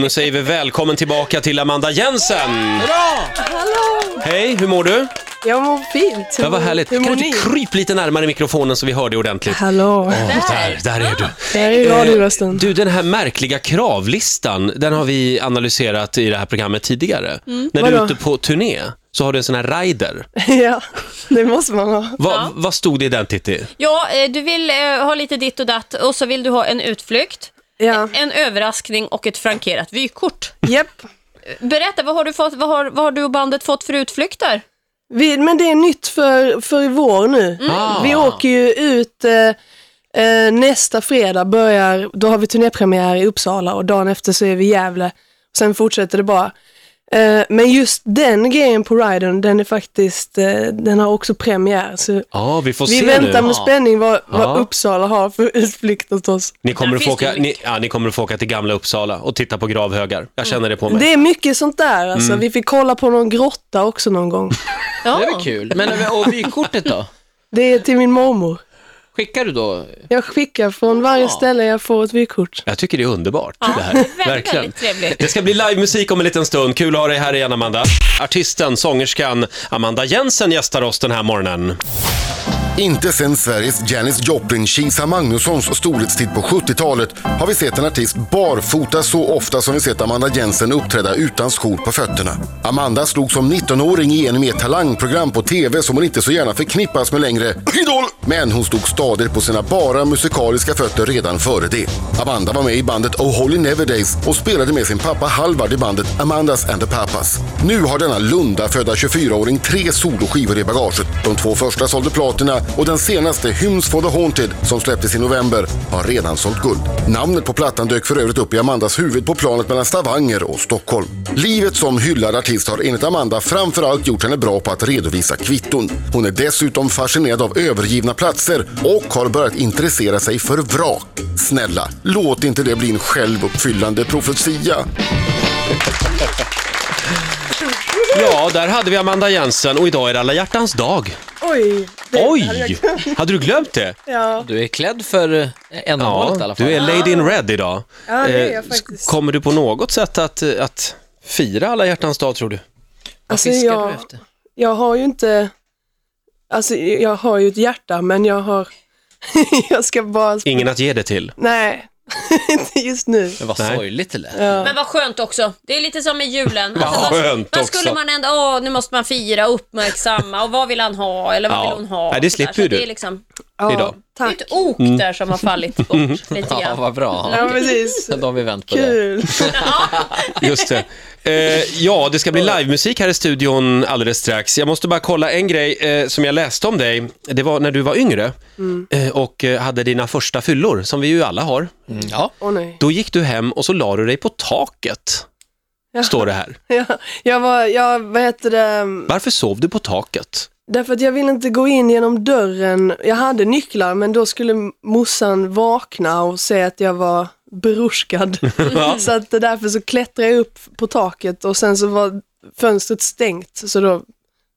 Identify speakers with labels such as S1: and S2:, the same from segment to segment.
S1: Nu säger vi välkommen tillbaka till Amanda Jensen!
S2: Bra!
S3: Hallå!
S1: Hej, hur mår du?
S3: Jag mår fint.
S1: Ja, vad härligt.
S3: Hur
S1: Kan
S3: mår
S1: du
S3: ni?
S1: inte kryp lite närmare mikrofonen så vi hör dig ordentligt?
S3: Hallå.
S1: Åh, där, där är du.
S3: Det är
S1: Eh.
S3: ju radiorösten.
S1: Du, den här märkliga kravlistan, den har vi analyserat i det här programmet tidigare. När du är
S3: Vadå?
S1: ute på turné så har du en sån här rider.
S3: ja, det måste man ha.
S1: Va,
S4: Ja.
S1: Vad stod det i den Titti?
S4: Ja, eh, du vill eh, ha lite ditt och datt och så vill du ha en utflykt,
S3: Ja,
S4: en överraskning och ett frankerat vykort.
S3: japp.
S4: Berätta, vad har du, fått, vad har, vad har du och bandet fått för utflykter?
S3: Vi, men det är nytt för, för i vår nu.
S1: Ah.
S3: Vi åker ju ut eh, eh, nästa fredag, börjar, då har vi turnépremiär i Uppsala och dagen efter så är vi i Gävle. Sen fortsätter det bara. Eh, men just den grejen på riden, den är faktiskt, eh, den har också premiär. Så
S1: Ja, vi får
S3: vi
S1: se
S3: väntar
S1: nu.
S3: med spänning vad,
S1: Ja.
S3: vad Uppsala har för utflykt åt oss.
S1: Ni kommer,
S4: Där
S1: att få
S4: finns det
S1: åka,
S4: ju
S1: ni,
S4: mycket.
S1: ja, ni kommer att få åka till Gamla Uppsala och titta på gravhögar. Jag känner det på mig.
S3: Det är mycket sånt där. Alltså.
S2: Mm.
S3: Vi fick kolla på någon grotta också någon gång.
S4: Ja.
S2: Det är väl kul. Men och vykortet då?
S3: Det är till min mormor.
S2: Skickar du då?
S3: Jag skickar från varje
S2: Ja.
S3: ställe jag får ett vykort.
S1: Jag tycker det är underbart. det här.
S4: Väldigt, väldigt trevligt.
S1: Det ska bli livemusik om en liten stund. Kul att ha dig här igen, Amanda. Artisten, sångerskan Amanda Jensen gästar oss den här morgonen.
S5: Inte sedan Sveriges Janis Joplin, Kisa Magnussons storhetstid på 70-talet har vi sett en artist barfota så ofta som vi sett Amanda Jensen uppträda utan skor på fötterna. Amanda slog som 19-åring igenom i ett talangprogram på TV som hon inte så gärna förknippas med längre. Idol! Men hon stod stadigt på sina bara musikaliska fötter redan före det. Amanda var med i bandet Oh Holy Never Days och spelade med sin pappa Halvard i bandet Amandas and the Papas. Nu har denna Lunda födda 24-åring tre soloskivor i bagaget. De två första sålde platina och den senaste Hymns for the Haunted som släpptes i november har redan sålt guld. Namnet på plattan dök för övrigt upp i Amandas huvud på planet mellan Stavanger och Stockholm. Livet som hyllad artist har enligt Amanda framförallt gjort henne bra på att redovisa kvitton. Hon är dessutom fascinerad av övergivna platser och har börjat intressera sig för vrak. Snälla, låt inte det bli en självuppfyllande profetia.
S1: Ja, där hade vi Amanda Jensen och idag är det alla hjärtans dag.
S3: Oj! det-
S1: Oj! Hade du glömt det?
S3: Ja,
S2: Du är klädd för eh, ändamålet i alla fall.
S1: du är Lady in Red idag.
S3: Ja, det är jag
S1: Eh,
S3: faktiskt.
S1: Kommer du på något sätt att, att fira alla hjärtans dag, tror du?
S3: alltså
S2: Fiskar
S3: jag,
S2: du efter?
S3: jag har ju inte... Alltså jag har ju ett hjärta, men jag har... jag ska bara...
S1: Ingen att ge det till.
S3: Nej, inte just nu.
S2: Men vad
S1: Nej.
S2: sorgligt det lät.
S4: Men vad skönt också. Det är lite som med julen.
S1: Vad skönt
S4: vad, vad
S1: också.
S4: skulle man ändå, åh, nu måste man fira, uppmärksamma och vad vill han ha eller vad
S1: Ja.
S4: vill hon ha?
S1: Nej, det
S4: och sådär.
S1: slipper
S4: Så
S1: ju
S4: att
S1: du.
S4: det
S1: Mm.
S4: är liksom,
S3: Ja,
S1: Idag.
S4: det är
S3: Tack.
S4: ett ok där som har fallit bort lite grann.
S2: Ja, vad bra.
S3: Ja, precis.
S2: Då har vi vänt på det.
S3: Kul.
S1: Just det. Eh, ja, det ska bli livemusik här i studion alldeles strax. Jag måste bara kolla en grej eh, som jag läste om dig. Det var när du var yngre
S3: Mm.
S1: eh, och eh, hade dina första fyllor, som vi ju alla har.
S2: Mm, Ja,
S3: Åh nej.
S1: Då gick du hem och så la du dig på taket, står det här.
S3: Jag, jag var, jag, vad heter det,
S1: Varför sov du på taket?
S3: Därför att jag ville inte gå in genom dörren. Jag hade nycklar men då skulle morsan vakna och säga att jag var berusskad. så att därför så klättrade jag upp på taket och sen så var fönstret stängt så då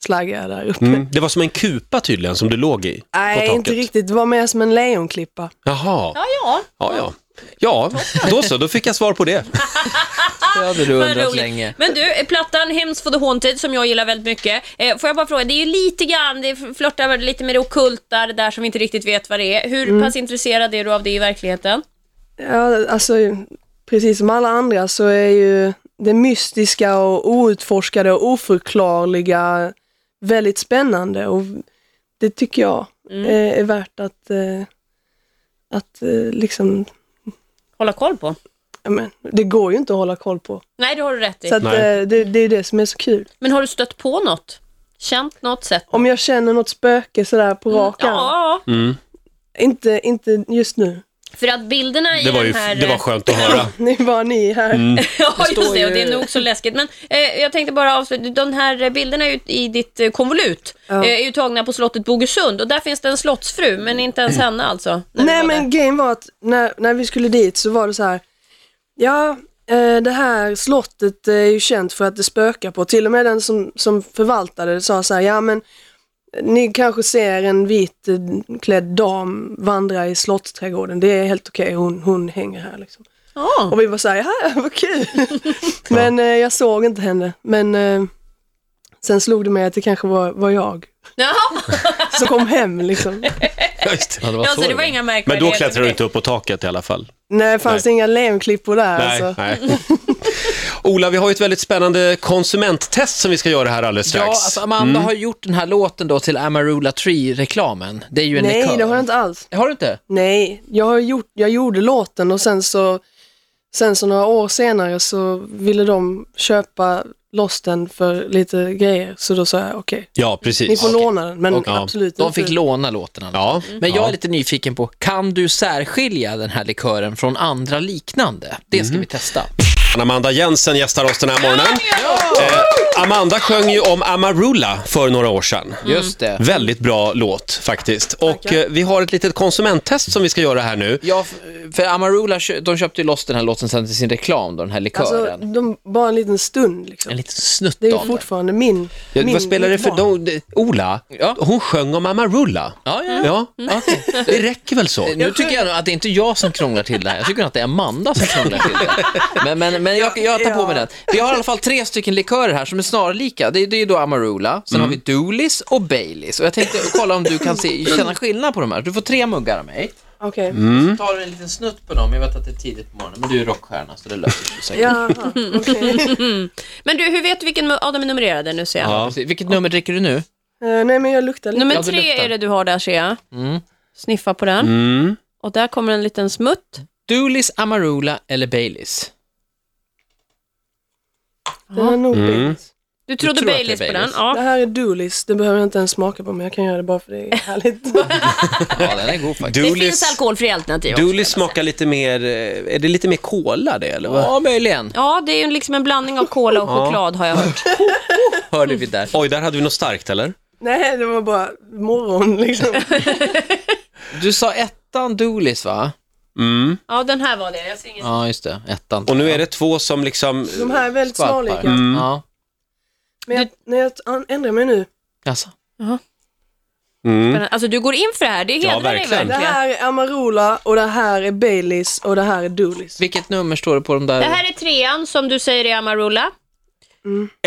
S3: slaggade jag där uppe.
S1: Mm. Det var som en kupa tydligen som du låg i. på
S3: Nej,
S1: taket.
S3: inte riktigt. Det var mer som en lejonklippa.
S1: Jaha,
S4: Ja, ja.
S1: ja, ja. Ja, då så, då fick jag svar på det.
S2: det hade du
S4: Vad
S2: undrat
S4: roligt.
S2: länge.
S4: Men du, eh, plattan Hymns for the Haunted som jag gillar väldigt mycket. Eh, får jag bara fråga, det är ju lite grann, det flörtar väl lite med det ockulta, det där som vi inte riktigt vet vad det är. Hur
S3: Mm.
S4: pass intresserad är du av det i verkligheten?
S3: Ja, alltså precis som alla andra så är ju det mystiska och outforskade och oförklarliga väldigt spännande och det tycker jag
S4: Mm.
S3: eh, är värt att, eh, att eh, liksom,
S4: Hålla koll på.
S3: ja, men, det går ju inte att hålla koll på.
S4: Nej, det har du rätt i.
S3: Så att, eh,
S1: Nej.
S3: det, det är ju det som är så kul.
S4: Men har du stött på något? Känt något sätt?
S3: Om jag känner något spöke sådär på rak arm,
S4: Mm. Ja,
S1: Mm.
S3: inte, inte just nu.
S4: för att bilderna i
S1: Det var, ju,
S4: den här...
S3: eh,
S1: det var skönt att höra.
S3: Det är bara ni här.
S4: ja, just
S2: står
S4: det,
S2: ju-
S4: och det är nog så läskigt. Men eh, jag tänkte bara avsluta, de här eh, bilderna ut- i ditt eh, konvolut
S3: Ja.
S4: eh, är ju tagna på slottet Bogesund och där finns det en slottsfru, men inte ens henne alltså. när du
S3: Nej
S4: var där.
S3: men grejen var att när, när vi skulle dit så var det så här, ja eh, det här slottet eh, är ju känt för att det spökar på. Till och med den som, som förvaltade det sa så här, ja men ni kanske ser en vit eh, klädd dam vandra i slottsträdgården. Det är helt okej, hon, hon hänger här liksom.
S4: Ja.
S3: Och vi var såhär, ja vad kul. men eh, jag såg inte henne. Men eh, sen slog det mig att det kanske var, var jag
S4: Jaha.
S3: som kom hem liksom.
S1: Ja, just det.
S2: Ja, det var
S4: Ja,
S2: så
S4: så det var
S2: var.
S4: inga
S1: Men
S4: märkvärdigheter.
S1: då klättrar du inte upp på taket i alla fall.
S3: Nej, fanns det inga lemklippor där
S1: Nej,
S3: alltså.
S1: nej. Ola, vi har ju ett väldigt spännande konsumenttest som vi ska göra här alldeles strax.
S2: Ja, alltså Amanda
S1: Mm.
S2: har gjort den här låten då till Amarula Tree-reklamen. Det är ju en likör.
S3: Nej, det har jag inte alls.
S2: Har du inte?
S3: Nej, jag, har gjort, jag gjorde låten och sen så, sen så några år senare så ville de köpa loss den för lite grejer. Så då sa jag okej,
S1: Ja,
S3: ni
S1: precis.
S3: får låna den. Men
S1: Okej.
S3: absolut
S2: De
S3: inte.
S2: fick låna låten. alltså.
S1: Ja,
S2: Men jag
S1: ja.
S2: är lite nyfiken på, kan du särskilja den här likören från andra liknande? Det
S1: Mm.
S2: ska vi testa.
S1: Amanda Jensen gästar oss den här morgonen. Eh, Amanda sjöng ju om Amarula för några år sedan.
S2: Just det.
S1: Väldigt bra låt faktiskt. Och
S3: Tackar.
S1: eh, vi har ett litet konsumenttest som vi ska göra här nu.
S2: Ja, f- för Amarula, kö- de köpte ju loss den här låten sen till sin reklam, då, den här likören.
S3: Alltså, de, bara en liten stund liksom.
S2: en liten snutt
S3: Det är ju
S2: av den.
S3: fortfarande min,
S1: Ja,
S3: min
S1: Eh, vad spelar det
S3: mitt
S1: för...
S3: barn.
S1: De, de, Ola,
S2: Ja.
S1: hon sjöng om Amarula.
S2: Ja, ja, ja.
S1: Ja,
S4: Mm.
S1: det räcker väl så?
S2: Nu tycker jag nog att det är inte jag som krånglar till det här, jag tycker nog att det är Amanda som krånglar till det. Men, men, men jag, jag tar på mig den. Vi har i alla fall tre stycken likörer här som är snarlika. Det, är- det är då Amarula, sen har vi Doolis och Baileys. Och jag tänkte kolla om du kan se, känna skillnad på de här. Du får tre muggar av mig.
S3: Okej,
S1: Mm.
S2: Så tar du en liten snutt på dem, jag vet att det är tidigt på morgonen, men du är rockstjärna så det löser sig säkert.
S3: jaha, okej.
S4: Men du, hur vet du vilken mu- av dem är numrerade nu ser jag?
S1: Ja.
S2: Precis. Vilket nummer dricker du nu?
S3: Eh, nej men jag luktar lite.
S4: Nummer
S2: Ja, det
S4: tre
S2: luktar.
S4: är det du har där ser jag.
S2: Mm.
S4: Sniffa på den.
S1: Mm.
S4: Och där kommer en liten smutt.
S2: Doolis, Amarula eller Baileys?
S3: Det här är nog
S1: Mm.
S3: Baileys.
S4: Du trodde
S2: tror att det är
S4: Baileys på den.
S2: Baileys.
S3: Det
S4: Ja.
S3: här är Doolis, det behöver jag inte ens smaka på men jag kan göra det bara för det är härligt.
S2: Ja, den är god faktiskt.
S4: Det
S1: Doolis-
S4: finns alkoholfria alternativ också,
S1: Doolis
S4: kan jag
S1: smakar lite mer... eh, Är det lite mer cola det, eller? vad?
S2: Ja, möjligen.
S4: säga. Ja, det är ju liksom en blandning av cola och choklad har jag hört.
S2: Hörde vi där.
S1: Oj, där hade vi något starkt, eller?
S3: nej, det var bara morgon liksom.
S2: Du sa ettan Doolis va?
S1: Mm.
S4: Ja, den här var det. Jag ser inget.
S2: Ja, just det. Ettan.
S1: Och nu är det två som liksom...
S3: De här är väldigt
S2: Skvalpar.
S3: snarlika.
S1: Mm.
S2: Ja.
S3: Men jag, när jag an- ändrar mig nu.
S2: Jaså?
S1: Mm.
S4: Alltså du går in för det här, det hedrar dig
S1: verkligen.
S4: verkligen.
S3: Det här är Amarula och det här är Baileys och det här är Doolis.
S2: Vilket nummer står det på de där?
S4: Det här är trean som du säger är Amarula.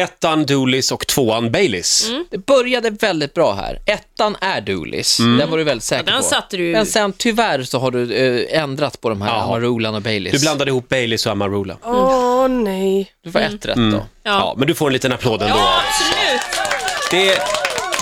S1: Ettan Doolis och tvåan Baileys.
S2: Det började väldigt bra här. Ettan är Doolis.
S1: Mm.
S2: Den var du väldigt säker
S4: Ja, den
S2: på.
S4: satte du ju.
S2: Men sen tyvärr så har du eh, ändrat på de här
S1: Ja.
S2: Amarulan och Baileys.
S1: Du blandade ihop Baileys och Amarula. Ja.
S3: Åh nej.
S2: Du var ett rätt
S1: Mm.
S2: då.
S1: men du får en liten applåd ändå.
S4: Ja, absolut.
S1: Det är,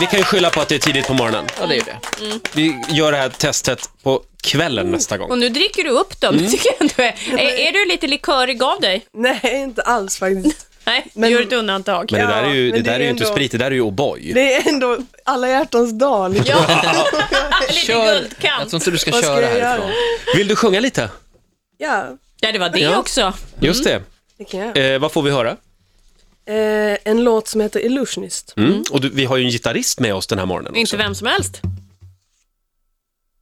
S1: vi kan ju skylla på att det är tidigt på morgonen.
S2: Ja, det är ju
S3: Mm.
S2: det.
S1: Vi gör det här testet på kvällen nästa gång.
S4: Och nu dricker du upp dem, det tycker jag ändå är. Är, är du lite likörig av dig?
S3: Nej, inte alls faktiskt.
S4: Nej, du
S3: Men-
S4: gör ett undantag.
S1: Men det där är ju,
S3: Ja,
S1: det
S3: men det
S1: där är
S3: är
S1: ju inte
S3: ändå-
S1: sprit, det där är ju O'boy.
S3: Det är ändå alla hjärtans dag. Liksom.
S4: Ja, lite
S2: Jag
S4: guldkant.
S2: tror inte du ska
S3: Vad ska
S2: köra
S3: jag göra?
S2: härifrån.
S1: Vill du sjunga lite?
S3: Ja,
S4: Ja, det var det också.
S1: Just det.
S3: det kan jag.
S1: Eh, vad får vi höra?
S3: Eh, en låt som heter Illusionist.
S1: Mm. Och du, vi har ju en gitarrist med oss den här morgonen också.
S4: Inte vem som helst.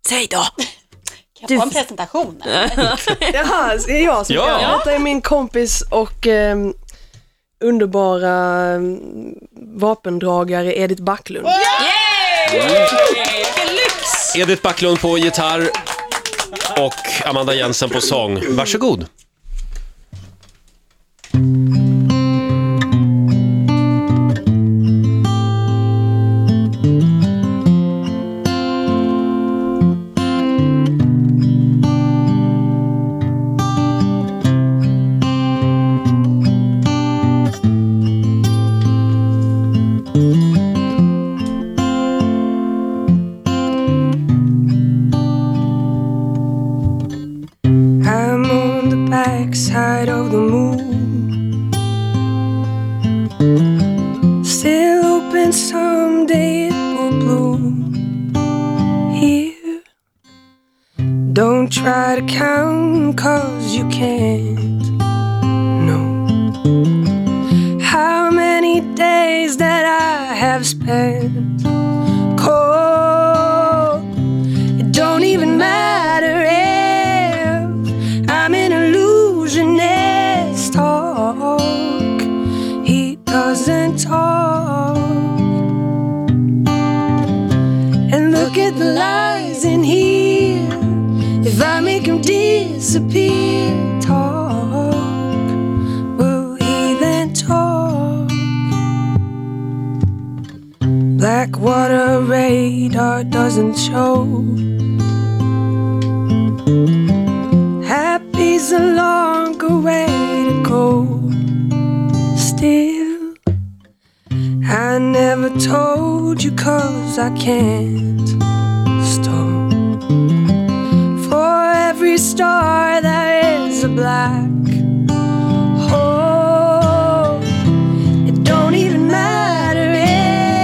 S4: Säg då!
S6: Kan jag få en presentation?
S3: Jaha, så är det jag som
S1: Ja.
S3: ska. Detta är min kompis och ehm, underbara ehm, vapendragare Edith Backlund.
S4: Yay! Vilken lyx!
S1: Edith Backlund på gitarr och Amanda Jensen på sång. Varsågod.
S7: I'm on the backside of the moon. Still hoping someday it will bloom here. Don't try to count, cause you can't know how many days that I have spent cold. It don't even matter if I'm an illusionist. Talk, he doesn't talk. And look at the lies in here. If I make him disappear, talk.
S3: what a radar doesn't show. Happy's a longer way to go. Still, I never told you cause I can't stop. For every star there is a black hole. It don't even matter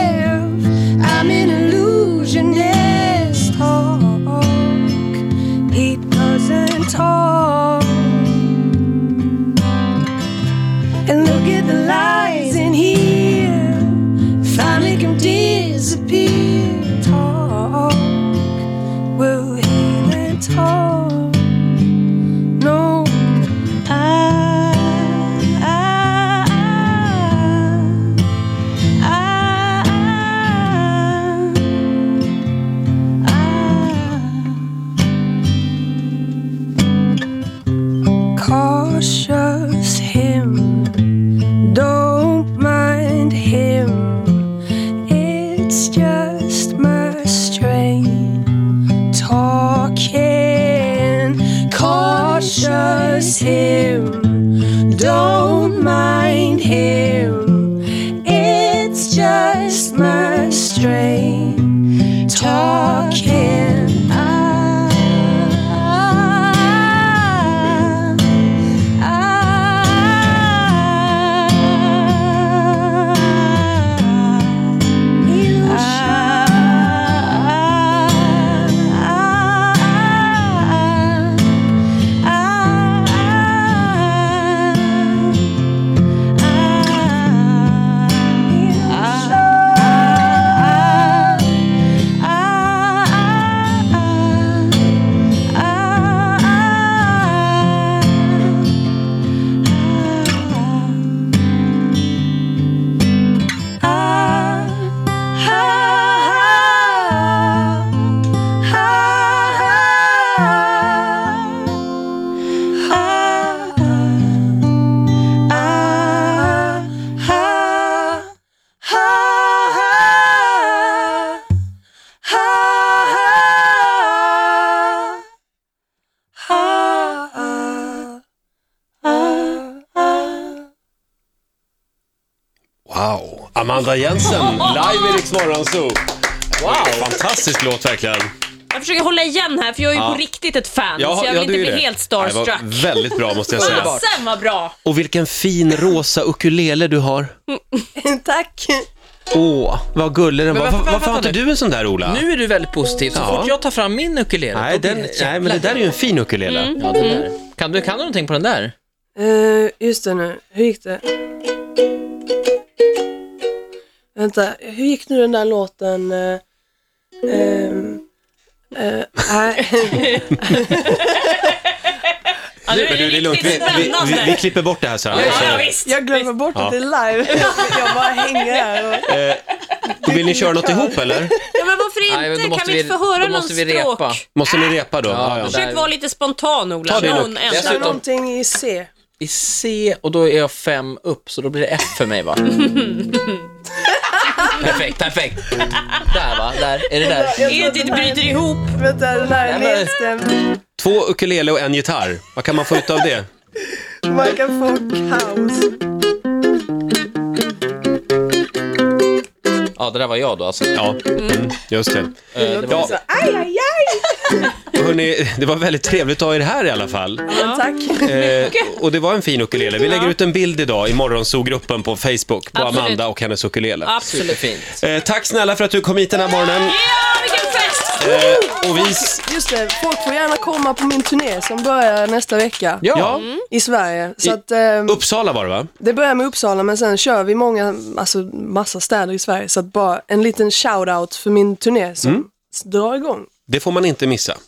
S3: if I'm an illusionist talk. He doesn't talk. And look at the lies in here. If I make him disappear, talk. Will he then talk? No. Cautious him, don't mind him. It's just my strain talking. Cautious him, don't mind him. It's just my strain talking. Ah, ah, ah, ah.
S1: Wow! Amanda Jensen, live i Rix Morgonzoo. Wow! Fantastisk låt verkligen.
S4: Jag försöker hålla igen här, för jag är ju
S1: Ja.
S4: på riktigt ett fan,
S1: Ja,
S4: så jag vill
S1: ja,
S4: inte
S1: du är
S4: bli
S1: det.
S4: helt
S1: Nej,
S4: starstruck.
S1: det var väldigt bra måste jag säga.
S4: Fasen Alltså, vad bra!
S1: Och vilken fin rosa ukulele du har.
S8: Tack!
S1: Åh, vad gullig den var.
S2: Men varför-
S1: Varför, varför har
S2: vänta
S1: inte du en sån där Ola?
S2: Nu är du väldigt positiv. Så
S1: Ja.
S2: fort jag tar fram min ukulele,
S1: Nej,
S2: då blir
S1: den,
S2: det Mm. ett
S1: nej, men
S2: jävla-
S1: det där är ju en fin ukulele.
S2: Ja, den där.
S3: Mm.
S2: Kan, du, kan du någonting på den där?
S8: Eh, just det nu, hur gick det? Vänta, hur gick nu den där låten? eh, ehm, eh, nej.
S4: Ja, nu är
S1: Men
S4: det
S1: du, det är lugnt.
S4: riktigt
S1: Vi, vi, vi, vi
S4: spännande.
S1: klipper bort det här sen.
S4: Ja,
S1: Så-
S4: ja, visst.
S8: jag glömmer bort att det är live. Jag- Jag bara hänger här. Och...
S1: Vill ni köra något ihop eller?
S4: Ja, men varför inte?
S2: Nej, men då måste
S4: kan vi, inte få
S2: vi-
S4: höra
S2: då
S4: någon
S2: måste vi repa.
S4: språk?
S1: Måste ni repa då? Ja, ja.
S2: det där-
S4: Försök vara lite spontan, Ola.
S1: Ta det
S4: Någon
S1: lugnt.
S4: enda.
S8: Det var
S2: Dessutom-
S8: någonting i C.
S2: I C, och då är jag fem upp, så då blir det F för mig va? perfekt, perfekt. Där va, där. Är det där?
S4: Edith bryter ihop.
S8: Vänta, den där är
S2: men-
S8: nedstämd.
S1: Två ukulele och en gitarr. Vad kan man få ut av det?
S8: Man kan få kaos.
S2: Ja, det där var jag då alltså.
S1: Ja, mm, just det.
S2: Eh, det var-
S1: Ja,
S8: Aj, aj, aj!
S1: hörni, det var väldigt trevligt att ha er här i alla fall.
S8: Men tack.
S1: Eh, och det var en fin ukulele. Vi lägger ut en bild idag i morgonsogruppen på Facebook på
S4: Absolut.
S1: Amanda och hennes ukulele.
S4: Absolut.
S2: Superfint.
S1: Eh, tack snälla för att du kom hit den här morgonen.
S4: Ja, vilken fest!
S1: Eh, och vi... s-
S8: Just det, folk får gärna komma på min turné som börjar nästa vecka
S2: Ja,
S1: Ja,
S8: i Sverige. Så
S1: I-
S8: att, ehm,
S1: Uppsala var det va?
S8: Det börjar med Uppsala men sen kör vi många, alltså massa städer i Sverige. Så att bara en liten shout-out för min turné som drar igång.
S1: Det får man inte missa.